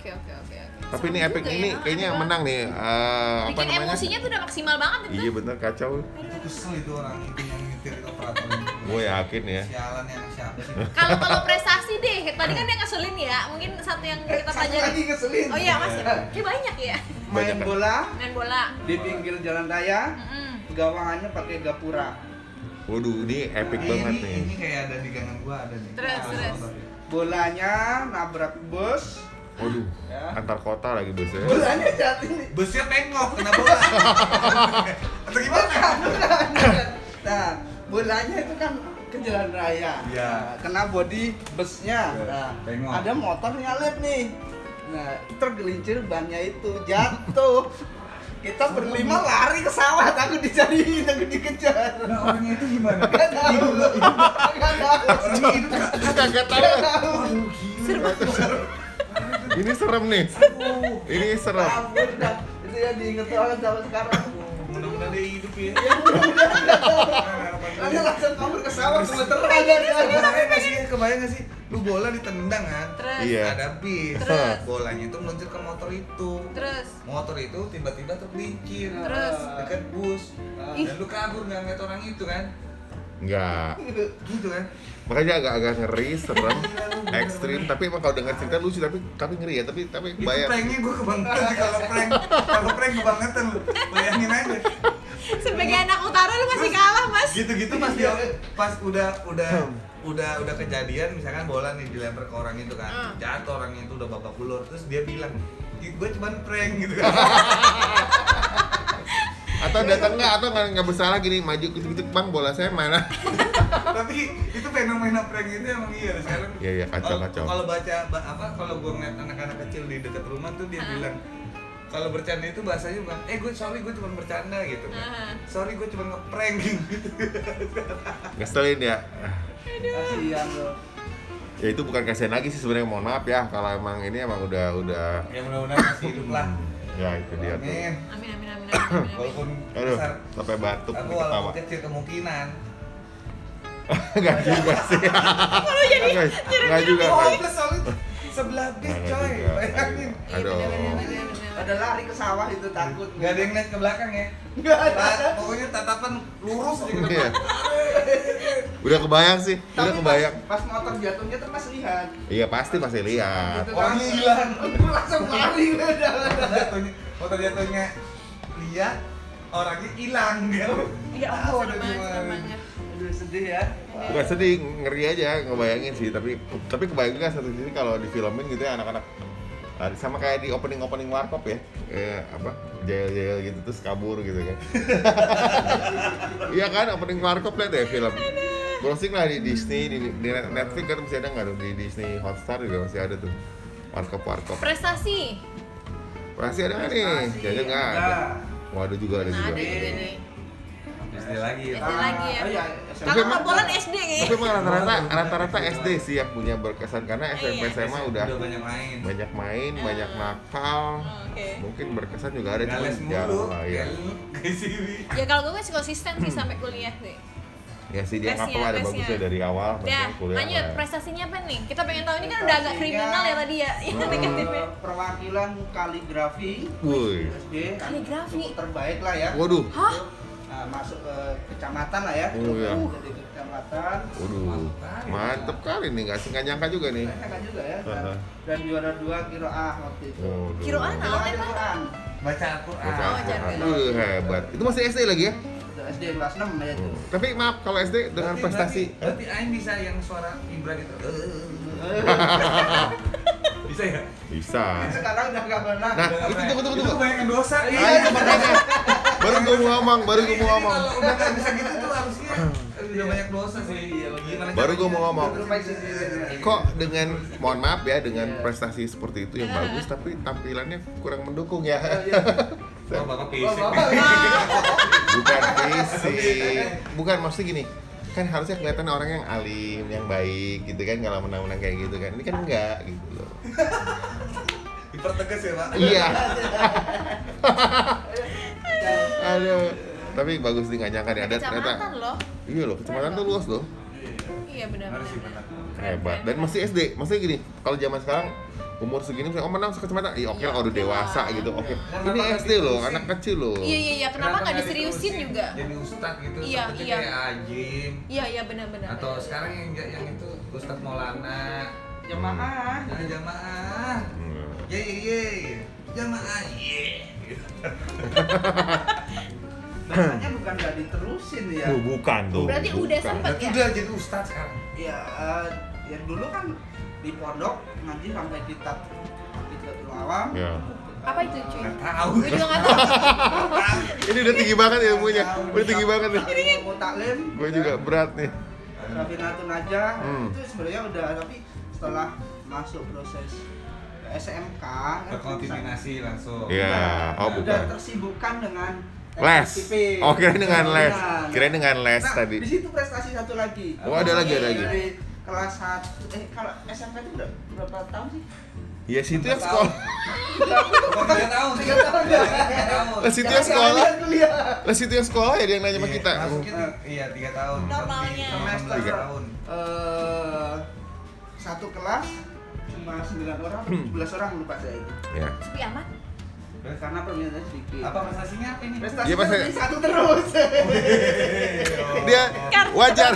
S2: Oke oke oke. oke.
S1: Tapi ini
S2: Seru
S1: epic
S2: juga ya,
S1: ini
S2: enak
S1: kayaknya
S2: banget.
S1: menang nih. eh, apa
S2: Bikin
S1: namanya?
S2: emosinya tuh udah maksimal banget itu.
S1: Iya bener kacau.
S3: Itu kesel itu orang itu yang nyetir itu operator. itu.
S1: Gue yakin ya.
S3: Sialan yang siapa sih?
S2: Kalau kalau prestasi deh, tadi kan dia ngeselin ya. Mungkin satu yang kita
S4: satu lagi
S2: pelajari.
S4: keselin
S2: Oh iya mas,
S3: Nah,
S2: kayak banyak ya.
S1: Banyak
S4: main
S1: kan?
S4: bola
S2: Main bola.
S4: di pinggir jalan raya
S2: Mm-mm.
S4: gawangannya pakai gapura
S1: Waduh, ini epic
S3: Ini-
S1: banget
S3: ini,
S1: nih.
S3: Ini kayak ada di gangan gua ada nih.
S2: Terus,
S3: Ada
S2: terus.
S3: motor ya.
S4: bolanya nabrak bus
S1: Waduh,
S4: Ya.
S1: antar kota lagi biasanya.
S4: bolanya jatuh
S3: Busnya tengok kena bola. Atau gimana?
S4: nah bolanya itu kan ke jalan raya
S3: Iya.
S4: Nah, kena body busnya
S3: Iya,
S4: nah,
S3: tengok.
S4: ada motor nyalip nih nah tergelincir bannya itu jatuh kita berlima lari ke sawah takut dicariin takut dikejar
S3: Nah, orangnya itu gimana?
S4: Gak tahu. Gak tahu.
S3: Orangnya itu kan.
S1: Kagak
S4: Gak
S1: tahu.
S4: tahu.
S3: Aduh, gila.
S1: Ini serem nih.
S3: Aduh.
S1: Ini serem.
S4: Ampun, dah. itu ya diinget banget sampai sekarang
S3: Mudah-mudahan dia hidup ya.
S1: Iya.
S3: Nah,
S4: ya mudah-mudahan gak tahu
S3: Harapan
S4: Lalu
S3: gua.
S4: langsung kabur ke sawah kebetulan
S3: Kebayang gak sih? Kebayang gak sih? Lu bola ditendang kan?
S2: Terus.
S1: Iya.
S3: Ada bis.
S2: Terus.
S3: Bolanya itu meluncur ke motor itu.
S2: Terus.
S3: Motor itu tiba-tiba tergelincir.
S2: Terus.
S4: Nah, kan.
S3: Dekat bus.
S4: Ah.
S3: Dan lu kabur nggak ngeliat orang itu kan?
S1: Enggak.
S3: Gitu kan?
S1: Makanya agak-agak ngeri, serem,
S3: Gila, lu bener-bener.
S1: ekstrim. Tapi emang kalau dengar cerita lucu, tapi tapi ngeri ya. Tapi tapi
S3: Itu
S1: bayang.
S3: pranknya gue kebangetan sih kalau prank. Kalau prank kebangetan lu. Bayangin aja.
S2: Sebagai anak utara lu masih kalah mas.
S3: Gitu-gitu pas dia pas udah udah udah udah kejadian misalkan bola nih dilempar ke orang itu
S2: Ah.
S3: kan jatuh orang itu udah babak belur terus dia bilang gue cuman prank gitu kan
S1: Atau datang nggak? Atau nggak nggak bersalah gini maju gitu-gitu bang bola saya mana?
S3: tapi itu fenomena prank itu emang iya sekarang
S1: Iya, iya, kacau,
S3: kalau-
S1: kacau.
S3: kalau baca ba- apa kalau gue ngeliat anak-anak kecil di dekat rumah tuh dia bilang kalau bercanda itu bahasanya bukan eh gue sorry gue cuma bercanda gitu kan.
S2: Ah.
S3: sorry gue cuma ngeprank gitu
S1: Ngeselin ya.
S4: kasihan loh
S1: ya itu bukan kasihan lagi sih sebenarnya mohon maaf ya kalau emang ini emang udah udah
S3: ya mudah-mudahan masih hidup lah
S1: ya itu dia tuh
S3: amin
S2: Amin amin amin amin. amin, amin.
S3: walaupun
S1: aduh
S3: besar
S1: sampai batuk
S3: tapi
S1: nih ketawa
S3: walaupun kecil kemungkinan
S1: nggak juga sih
S2: Kalau jadi
S1: nggak nggak juga Nah,
S3: oh
S1: nggak
S3: plus soal itu sebelah bis
S1: nggak
S3: coy
S1: juga
S3: bayangin
S2: Iya,
S1: aduh
S2: bener, bener, bener, bener.
S4: Ada lari ke sawah itu takut.
S3: nggak ada yang lihat ke belakang ya
S4: Nggak ada.
S3: Nah, pokoknya tatapan lurus gitu. aja ke
S1: Iya.
S3: depan
S1: udah kebayang sih udah
S4: Tapi
S1: kebayang
S4: Pas, pas motor jatuhnya tuh pas lihat.
S1: iya pasti pasti lihat
S4: Gitu
S3: Orangnya hilang.
S4: Aku langsung lari udah.
S3: jatuhnya motor jatuhnya lihat orangnya hilang gitu
S2: Ya ampun, serem banget, serem banget.
S4: Aduh sedih ya.
S1: Bukan sedih, ngeri aja ngebayangin sih, tapi tapi kebayang juga satu sisi kalau di filmin gitu ya anak-anak lari. sama kayak di opening opening warkop ya, kayak apa jail-jail gitu terus kabur gitu kan. Iya kan opening warkop lihat ya film. Browsing lah di Disney, di, di Netflix kan masih ada nggak tuh di Disney Hotstar juga masih ada tuh warkop warkop.
S2: Prestasi.
S1: Masih ada nggak nih?
S4: Prestasi,
S1: Jangan nggak ada. Waduh juga ada
S2: Nah,
S1: juga.
S2: ada juga nih.
S3: Pasti Nah, lagi
S2: Ada lagi ya.
S4: Oh, iya,
S2: Kalau
S1: emang-
S2: kabolan SD
S1: Tapi
S2: kayaknya.
S1: emang rata-rata rata-rata SD sih yang punya berkesan karena SMP SMA udah
S3: udah banyak main
S1: banyak main, banyak nakal,
S2: Oh, Oke.
S1: mungkin berkesan juga ada
S3: Nggak
S1: cuma
S3: les mulu
S1: jarang lah ya.
S3: ya ke sini
S2: Ya kalau gue masih konsisten sih sampai kuliah sih.
S1: Ya sih dia
S2: Lesnya,
S1: apa ada
S2: lesnya.
S1: bagusnya dari awal,
S2: Ya,
S1: makanya
S2: lanjut
S1: lah.
S2: prestasinya apa nih? Kita pengen tahu ini kan udah agak
S4: Prestasinya-
S2: kriminal ya tadi ya. Iya
S1: Hmm.
S2: negatifnya.
S4: Eh, Perwakilan kaligrafi
S1: Woi,
S4: SD
S2: Kaligrafi.
S4: cukup terbaik lah ya.
S1: waduh,
S2: Hah?
S4: Nah, masuk ke kecamatan lah ya.
S1: Oh, iya.
S4: Jadi ke kecamatan.
S1: waduh, mantep kali nih nggak sih nggak nyangka juga nih.
S4: Nah, kan juga ya. Dan,
S1: Heeh.
S4: dan juara dua kiroah waktu itu.
S1: Waduh.
S2: Kiroan Nah, ah. apa?
S4: Kiroah Al-Quran.
S3: baca Al-Quran
S1: Baca
S2: Oh,
S1: Al-Quran.
S2: jargon.
S1: Waduh, hebat. Itu masih SD lagi ya?
S4: Itu SD kelas 6 ya itu.
S1: Hmm. Tapi maaf kalau SD dengan
S3: Berarti-
S1: prestasi
S3: berarti, berarti Aing bisa yang suara Ibra gitu
S1: Oh.
S3: bisa ya
S1: bisa.
S4: Sekarang udah nggak pernah.
S1: Nah, itu tunggu tunggu
S3: itu
S1: tunggu.
S3: kebanyakan dosa Iya.
S1: Nah, itu makanya. Baru gue mau ngomong, baru gue mau
S3: Jadi
S1: ngomong.
S3: kalau udah nggak bisa gitu tuh harusnya udah banyak dosa sih
S2: Iya,
S3: Gimana
S1: Baru gua mau
S3: caranya?
S1: ngomong.
S4: Bermain sendiri.
S1: kok dengan mohon maaf ya dengan
S4: Iya.
S1: prestasi seperti itu yang bagus tapi tampilannya kurang mendukung ya
S4: Oh, iya.
S3: oh bapak
S4: Oh,
S3: fisik
S4: bapak.
S1: bukan fisik bukan maksudnya gini kan harusnya kelihatan orang yang alim yang baik gitu kan kalau menang-menang kayak gitu kan ini kan enggak gitu loh
S3: dipertegas ya pak
S1: iya
S4: Dan
S1: aduh tapi bagus nih nggak nyangka nih ada ternyata
S2: Kecamatan loh.
S1: iya loh kecamatan tuh luas loh
S2: Iya benar.
S3: harus sih
S2: benar.
S3: benar
S1: hebat dan masih SD maksudnya gini kalau zaman sekarang umur segini misalnya oh menang sekecamatan iya oke lah udah dewasa gitu oke ini SD loh anak kecil loh
S2: Iya iya iya, kenapa nggak
S3: nggak
S2: diseriusin
S3: diterusin?
S2: juga?
S3: jadi ustad gitu
S2: Iya,
S3: takutnya
S2: iya.
S3: kayak ajim
S2: Iya iya benar-benar.
S3: atau sekarang yang yang itu ustad maulana
S4: jemaah.
S3: Nah, jamaah
S1: Hmm.
S3: ye ye ye jamaah ye
S4: Makanya bukan nggak diterusin ya.
S1: Oh, bukan tuh.
S2: Berarti
S1: bukan.
S2: udah sempet
S3: Berarti
S2: ya?
S3: udah jadi ustad sekarang
S4: Ya, eh, ya dulu kan di pondok ngaji sampai kitab Hakidatul Awam.
S1: Ya.
S2: Apa itu cuy?
S3: nggak tahu
S2: Gue juga nggak tahu.
S1: Ini udah tinggi banget ilmunya. Udah tinggi banget nih.
S4: Mau taklim.
S1: Gue juga berat nih.
S4: Raffinatun aja
S1: Hmm.
S4: eh, itu sebenarnya udah tapi setelah masuk proses SMK kan
S3: berkontaminasi langsung Nah,
S1: Iya, oh
S4: udah
S1: bukan.
S4: tersibukkan dengan
S1: Les.
S4: SPP.
S1: Oh, kirain dengan les.
S4: Nah,
S1: Kirain dengan les
S4: nah,
S1: tadi.
S4: Di situ prestasi satu lagi.
S1: Oh, ada lagi, ada lagi.
S4: Dari kelas 1 eh kalau SMK itu berapa, berapa tahun sih?
S1: Ya situ yang sekolah.
S3: Kok tiga tahun tiga tahun tiga tahun
S1: Les Oh, situ yang sekolah.
S4: Jangan kuliah.
S1: Les situ yang sekolah ya dia yang nanya sama
S3: Iya,
S1: kita.
S3: masukin, iya tiga tahun
S2: Normalnya.
S3: semester
S1: Tiga.
S3: tahun
S4: Eh, satu kelas cuma 9 orang
S1: Hmm.
S4: atau 17 orang lupa saya itu.
S1: Ya.
S2: Sepi amat.
S4: Karena permintaannya sedikit.
S3: apa prestasinya apa ini
S4: Prestasi
S1: Iya, Oh, Mas,
S4: ranking satu terus.
S1: Dia
S2: Kan.
S1: wajar.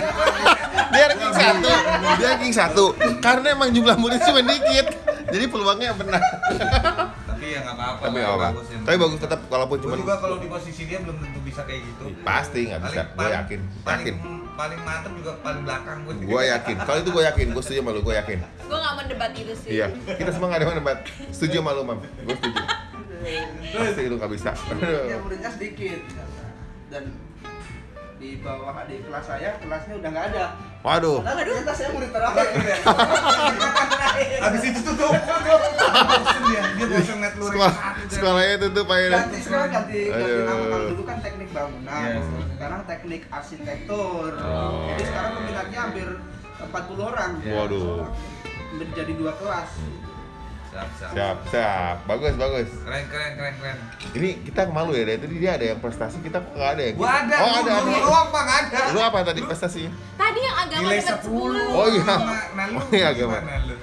S1: Dia ranking satu. Dia ranking satu. Karena emang jumlah murid cuma dikit. Jadi peluangnya benar.
S3: tapi ya nggak apa-apa
S1: Tapi
S3: lah,
S1: apa?
S3: bagus ya.
S1: Tapi bagus tetap walaupun
S3: Gua
S1: cuma
S3: juga kalau di posisi dia belum tentu bisa kayak gitu
S1: pasti nggak bisa. Gue
S3: paling-
S1: yakin.
S3: paling,
S1: Yakin. ya-
S3: paling mantep juga paling belakang gue
S1: Gue yakin. Kalau itu gue yakin. Gue setuju sama lu. Gue yakin.
S2: Gue nggak mendebat itu sih.
S1: Iya, kita semua nggak ada yang debat. Setuju sama lu, Mam. Gue setuju.
S2: Iya.
S1: Pasti lu nggak bisa.
S4: ya muridnya sedikit dan di bawah adik kelas saya kelasnya udah nggak ada
S1: Waduh.
S4: padahal ternyata saya murid terakhir
S3: Abis itu tutup. Bosen dia, dia bosen ngeliat lu
S1: Sekolah,
S3: rehat gitu.
S1: sekolahnya tutup akhirnya.
S4: ganti sekarang ganti ganti
S1: Aduh.
S4: nama kalau dulu kan teknik bangunan
S3: Iya, iya.
S4: sekarang teknik arsitektur
S1: Oh. Iya.
S4: jadi sekarang peminatnya hampir 40 orang
S1: Waduh.
S4: menjadi dua kelas
S3: siap siap
S1: Siap, siap. Bagus, bagus.
S3: keren keren keren keren
S1: Ini kita malu ya, dari tadi dia ada yang prestasi, kita kok nggak ada ya?
S3: gua ya. ada
S1: Oh, ada.
S3: lu,
S1: ada.
S3: lu apa nggak ada
S1: Lu apa tadi prestasinya?
S2: Tadi yang agama
S3: nilai
S2: dapat
S3: 10
S1: Oh, iya.
S3: Nah, nah lu
S1: Oh, iya, agama.
S3: gimana lu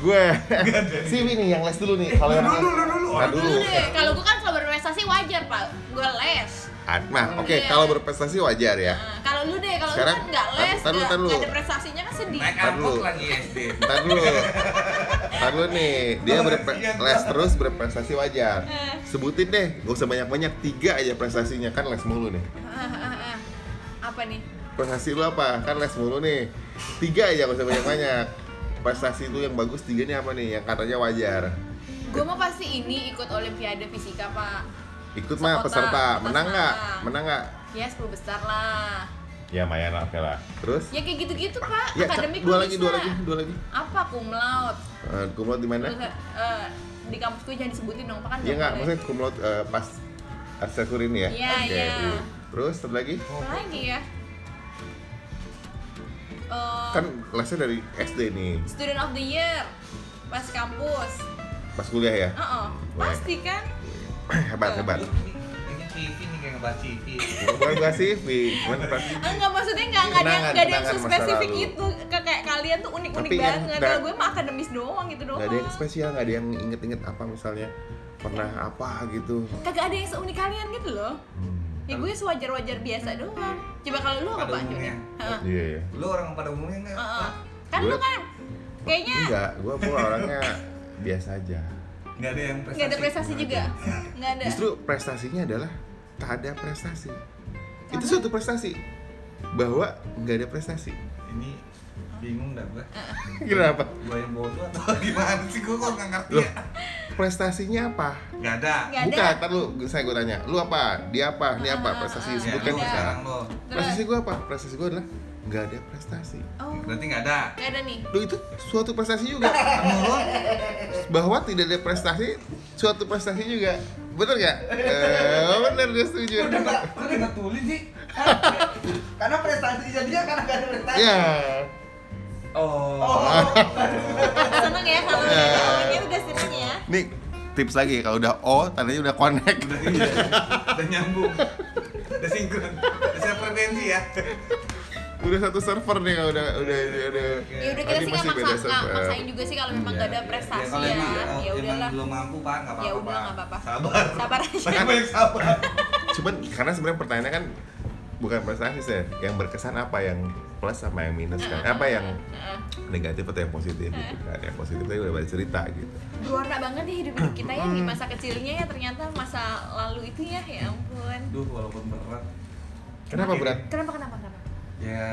S1: Gue. si ini yang les dulu nih. Kalau yang
S3: Eh, Lu dulu, lu dulu.
S1: Nah,
S2: Dulu deh, kalau gue kan kalau berprestasi wajar pak, gue les.
S1: Ah, Nah, oke,
S2: Iya.
S1: kalau berprestasi wajar ya.
S2: Nah, kalau lu deh, kalau lu
S1: Sekarang,
S2: kan nggak les,
S1: tar- tar dulu,
S2: nggak
S1: tar dulu.
S2: nggak ada prestasinya kan sedih.
S3: naik
S1: Ntar
S3: angkot
S1: dulu.
S3: lagi SD
S1: Ntar dulu. Ntar dulu nih, dia berpre-
S3: Kasihan, Pak.
S1: les terus berprestasi wajar.
S2: Eh.
S1: Sebutin deh, gak usah banyak-banyak, tiga aja prestasinya kan les mulu nih.
S2: Ah, ah, ah. Apa nih?
S1: Prestasi lu apa? Kan les mulu nih. Tiga aja gak usah banyak-banyak. Prestasi lu yang bagus tiga nih apa nih? Yang katanya wajar.
S2: Gue mau pasti ini ikut Olimpiade Fisika pak.
S1: Ikut mah
S2: Sekota,
S1: peserta,
S2: kita
S1: menang nggak?
S2: senang.
S1: Menang nggak?
S2: Ya 10 besar lah.
S1: Ya, mayan oke lah. Terus?
S2: Ya kayak gitu-gitu pak.
S1: Ya, cak,
S2: Akademik
S1: dua
S2: gua
S1: lagi,
S2: bisa.
S1: dua lagi, dua lagi.
S2: Apa cum laude?
S1: Eh, cum laude di mana?
S2: Terus, eh, di kampus gue jangan disebutin dong pak kan.
S1: Iya
S2: nggak
S1: nggak,
S2: boleh.
S1: maksudnya cum laude eh, pas arsitektur ini ya?
S2: Iya,
S1: Oke.
S2: iya.
S1: Terus, satu lagi?
S2: Apa lagi ya? Eh,
S1: Kan lesnya dari SD nih,
S2: Student of the Year pas kampus.
S1: pas kuliah ya?
S2: Oh, pasti kan?
S1: hebat, hebat.
S3: ini TV nih kayak ngebahas TV
S1: Bukan gak CV, cuman pasti
S2: Enggak maksudnya enggak enggak ada yang
S1: Kenangan,
S2: enggak ada yang
S1: kenangan masa
S2: spesifik
S1: lalu.
S2: itu Ke- kayak kalian tuh unik-unik
S1: Tapi yang
S2: banget.
S1: nggak-
S2: Kalau gue mah akademis doang gitu doang.
S1: nggak ada yang spesial, nggak ada yang inget-inget apa misalnya pernah apa gitu.
S2: Kagak ada yang seunik kalian gitu loh.
S1: Hmm.
S2: Ya gue sewajar-wajar biasa doang. Coba kalau lu apa
S3: Pada
S2: Pak
S3: umumnya.
S2: Joni? Heeh.
S1: Iya, iya.
S3: lu orang pada umumnya nggak
S2: Heeh. Kan
S1: Gue-
S2: lu kan kayaknya
S1: Enggak, gua gua orangnya biasa aja.
S3: nggak ada yang prestasi
S2: enggak
S3: Iya.
S2: ada prestasi juga. Enggak ada.
S1: Justru prestasinya adalah tak ada prestasi. Itu
S2: Karena-
S1: suatu prestasi bahwa nggak ada prestasi.
S3: ini bingung dah gua
S1: Kenapa?
S3: gua yang bodoh atau gimana sih gua kok nggak ngerti
S1: Loh,
S3: ya
S1: prestasinya apa?
S3: nggak ada
S2: Nggak ada.
S1: Bukan, ntar lu, saya gue tanya, lu apa? Dia apa? Ini apa? Prestasi,
S2: Ah,
S1: sebutkan
S3: lu
S2: nggak.
S1: sekarang.
S3: Iya, sekarang lo
S1: Prestasi gue apa? Prestasi gue adalah nggak ada prestasi.
S2: Oh,
S3: berarti nggak ada
S2: enggak ada nih.
S1: Lu itu suatu prestasi juga.
S3: menurut
S1: Bahwa tidak ada prestasi, suatu prestasi juga. Bener nggak? Eh, bener dia setuju.
S4: udah nggak udah nggak tulis sih karena prestasi jadinya karena gak ada prestasi
S1: Ya.
S3: oh
S4: oh
S2: Seneng ya kalau
S1: Iya.
S2: ini udah seneng ya.
S1: Nih tips lagi kalau udah O tandanya udah connect.
S3: udah iya udah nyambung udah sinkron udah siap frekuensi ya
S1: Udah satu server nih kalau udah udah udah. udah.
S2: Ya
S1: Tadi
S2: udah kita sih nggak
S1: masih beda
S2: maksa, nggak
S1: server.
S2: maksain juga sih kalau memang
S1: Iya.
S2: nggak ada
S3: ya
S2: prestasi
S3: kalau
S2: ya.
S3: emang,
S2: Ya
S3: emang
S2: udahlah,
S3: belum mampu pak nggak apa-apa
S2: Ya udah,
S3: Pak.
S2: nggak apa-apa.
S3: sabar
S2: sabar aja.
S3: banyak banyak sabar
S1: Cuman karena sebenarnya pertanyaannya kan bukan prestasi sih, yang berkesan apa yang plus sama yang minus kan? Apa yang
S2: Heeh.
S1: negatif atau yang positif gitu kan? Yang positif tadi udah banyak cerita gitu.
S2: Berwarna banget ya hidup hidup kita ya di masa kecilnya ya ternyata masa lalu itu ya ya ampun.
S3: duh walaupun berat
S1: Kenapa berat?
S2: Kenapa kenapa kenapa?
S3: ya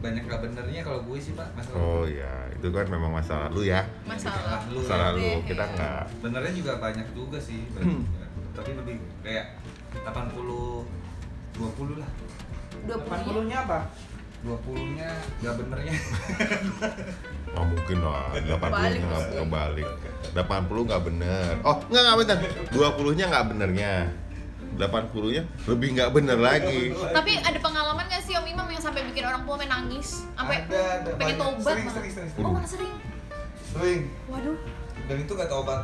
S3: banyak gak benernya kalau gue sih pak masalah
S1: Oh ya, itu kan memang masa lalu ya.
S2: Masalah.
S3: Lu
S1: Masa
S3: ya.
S1: lalu kita
S2: Iya.
S1: nggak
S3: benernya juga banyak juga sih banyak juga. tapi lebih kayak 80 20 lah
S2: Dua
S4: depan
S2: puluh.
S4: bulunya apa
S3: 20 nya gak benernya
S1: Oh mungkin lah, 80
S2: Balik
S1: nya nggak
S2: pasti.
S1: kebalik 80 nggak bener Oh nggak nggak bener 20 nya nggak benernya 80 nya lebih nggak bener lagi
S2: Tapi ada pengalaman nggak sih Om Imam yang sampai bikin orang tua main nangis, sampai
S3: Ada, ada
S2: pengen
S3: banyak.
S2: tobat
S3: Sering,
S2: malah.
S3: sering, sering,
S1: sering.
S2: Oh malah sering.
S3: sering
S2: Waduh,
S3: dan itu gak tobat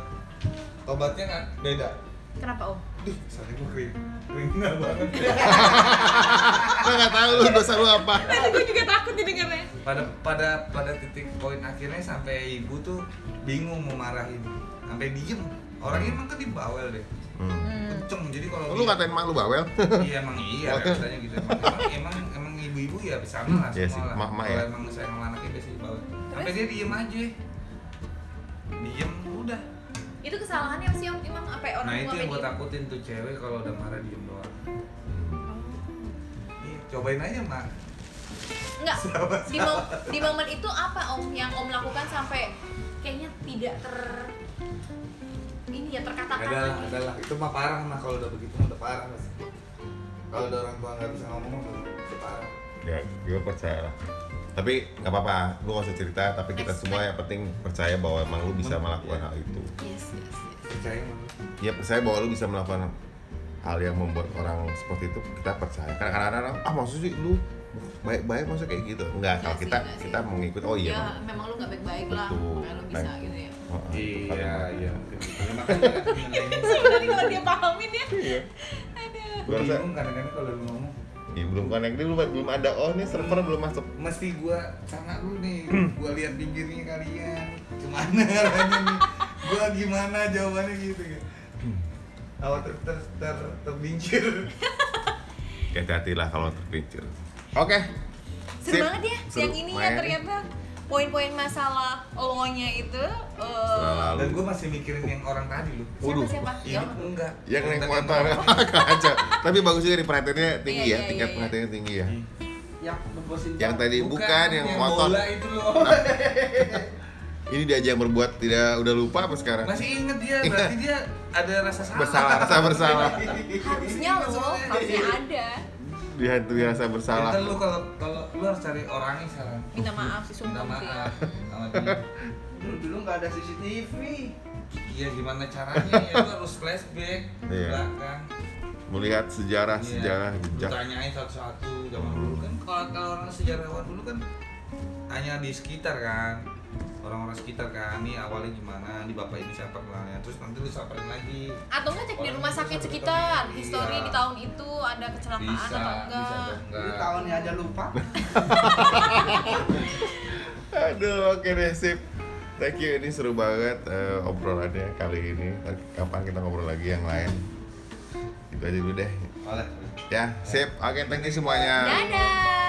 S3: tobatnya kan beda
S2: kenapa Om?
S3: Duh, sorry gue kering kriminal banget
S1: Gue nggak tahu lu dosa lu apa
S2: Tadi gue juga takut didengarnya.
S3: pada pada pada titik poin akhirnya sampai ibu tuh bingung mau marahin sampai diem orangnya emang kan dibawel deh
S1: hmm.
S2: Hmm.
S3: kenceng jadi kalau
S1: Lu
S3: dia-
S1: ngatain mak lu bawel?
S3: iya emang iya biasanya gitu emang emang, emang ibu-ibu ya sama lah
S1: Iya sih,
S3: semua lah
S1: emak-emak
S3: Kalau
S1: ya.
S3: emang saya sama anaknya biasa dibawa sampai dia diem aja diem udah
S2: Itu kesalahannya apa sih Om Imam sampai orang
S3: nah
S2: tua
S3: itu yang
S2: main
S3: gue
S2: gitu?
S3: takutin tuh cewek kalau udah marah diem doang
S1: Hmm.
S2: Oh.
S3: Iya, cobain aja mak
S2: Enggak. Di, mo- di momen itu apa Om yang Om lakukan sampai kayaknya tidak ter ini ya
S3: Gak ada lah,
S2: terkatakan.
S3: ada lah. Itu mah parah mah kalau udah begitu mah udah parah mas. Kalau udah orang tua nggak bisa ngomong mah udah udah parah.
S1: Ya gue percaya lah tapi nggak apa-apa, lu gak usah cerita tapi kita semua yang penting percaya bahwa emang lu bisa melakukan hal itu
S2: Yes, yes, yes.
S3: Percaya mah.
S1: ya percaya bahwa lu bisa melakukan hal yang membuat orang seperti itu kita percaya karena kadang-kadang orang, ah maksud sih lu baik-baik maksudnya kayak gitu enggak kalau
S2: Nggak Iya sih,
S1: kita
S2: nggak sih.
S1: kita mau ngikut oh iya
S2: ya
S1: Bang.
S2: memang lu nggak baik-baik lah
S1: Betul.
S2: makanya lu bisa
S1: Baik.
S2: gitu ya
S1: Oh, oh, itu
S5: Iya,
S1: kalimat.
S5: iya.
S3: Terima kasih
S2: sebenarnya kalau dia pahamin ya
S1: iya Gua
S3: Gue
S1: rasa
S3: bingung kadang-kadang kalau lu ngomong
S1: ya, belum connect dulu belum ada oh nih server belum masuk
S3: mesti gua sana lu nih
S1: Hmm.
S3: gua lihat pinggirnya kalian gimana caranya nih gua gimana jawabannya gitu kan
S1: Hmm.
S3: awal ter ter ter terbincir
S1: hati-hati lah kalau terpikir oke
S2: seru
S1: Sip.
S2: banget ya
S1: Seru.
S2: yang ini ya
S1: Lumayan.
S2: ternyata poin-poin masalah lo nya itu eh,
S1: Setelah lalu.
S3: dan gua masih mikirin yang orang tadi lu
S1: Waduh.
S2: siapa siapa
S3: ini
S2: ya
S3: enggak
S1: yang naik
S3: Tentang
S1: motor kaca tapi bagus juga nih perhatiannya tinggi
S2: Iya,
S1: ya
S2: iya,
S1: tingkat
S2: iya.
S1: perhatiannya tinggi ya
S3: Iya.
S4: yang ngebosin
S1: Yang
S4: banget.
S1: tadi bukan, yang motor. Nah.
S4: bola itu loh
S1: ini dia aja yang berbuat tidak udah lupa apa sekarang
S3: masih inget dia berarti dia ada rasa salah
S1: Iya. bersalah rasa bersalah
S2: harusnya lo harusnya
S1: Iya.
S2: ada
S1: dihantui rasa bersalah
S3: Ntar iya. lu kalau kalau lu harus cari orangnya sekarang
S2: minta maaf sih
S3: minta
S2: sumpah gitu ya.
S3: maaf sama dia
S4: dulu dulu nggak ada CCTV
S3: Iya gimana caranya ya lu harus flashback ke
S1: Iya.
S3: belakang.
S1: melihat sejarah
S3: Iya.
S1: sejarah Hmm. jejak
S3: Lu tanyain satu-satu zaman dulu kan kalau kalau orang sejarawan dulu kan hanya di sekitar kan orang-orang sekitar kan ini awalnya gimana di bapak ini siapa kenalnya terus nanti lu samperin lagi
S2: atau nggak cek di
S3: Orang
S2: rumah
S3: bisa
S2: sakit
S3: berteman.
S2: sekitar
S3: Iya.
S2: histori di tahun itu ada kecelakaan
S3: bisa
S2: atau
S3: bisa
S2: enggak
S3: atau
S4: jadi
S1: Ah.
S3: enggak
S4: tahunnya aja lupa
S1: aduh oke deh sip thank you ini seru banget eh, obrolannya kali ini Eh, kapan kita ngobrol lagi yang lain itu aja dulu deh
S3: oleh
S1: ya sip oke thank you semuanya
S2: dadah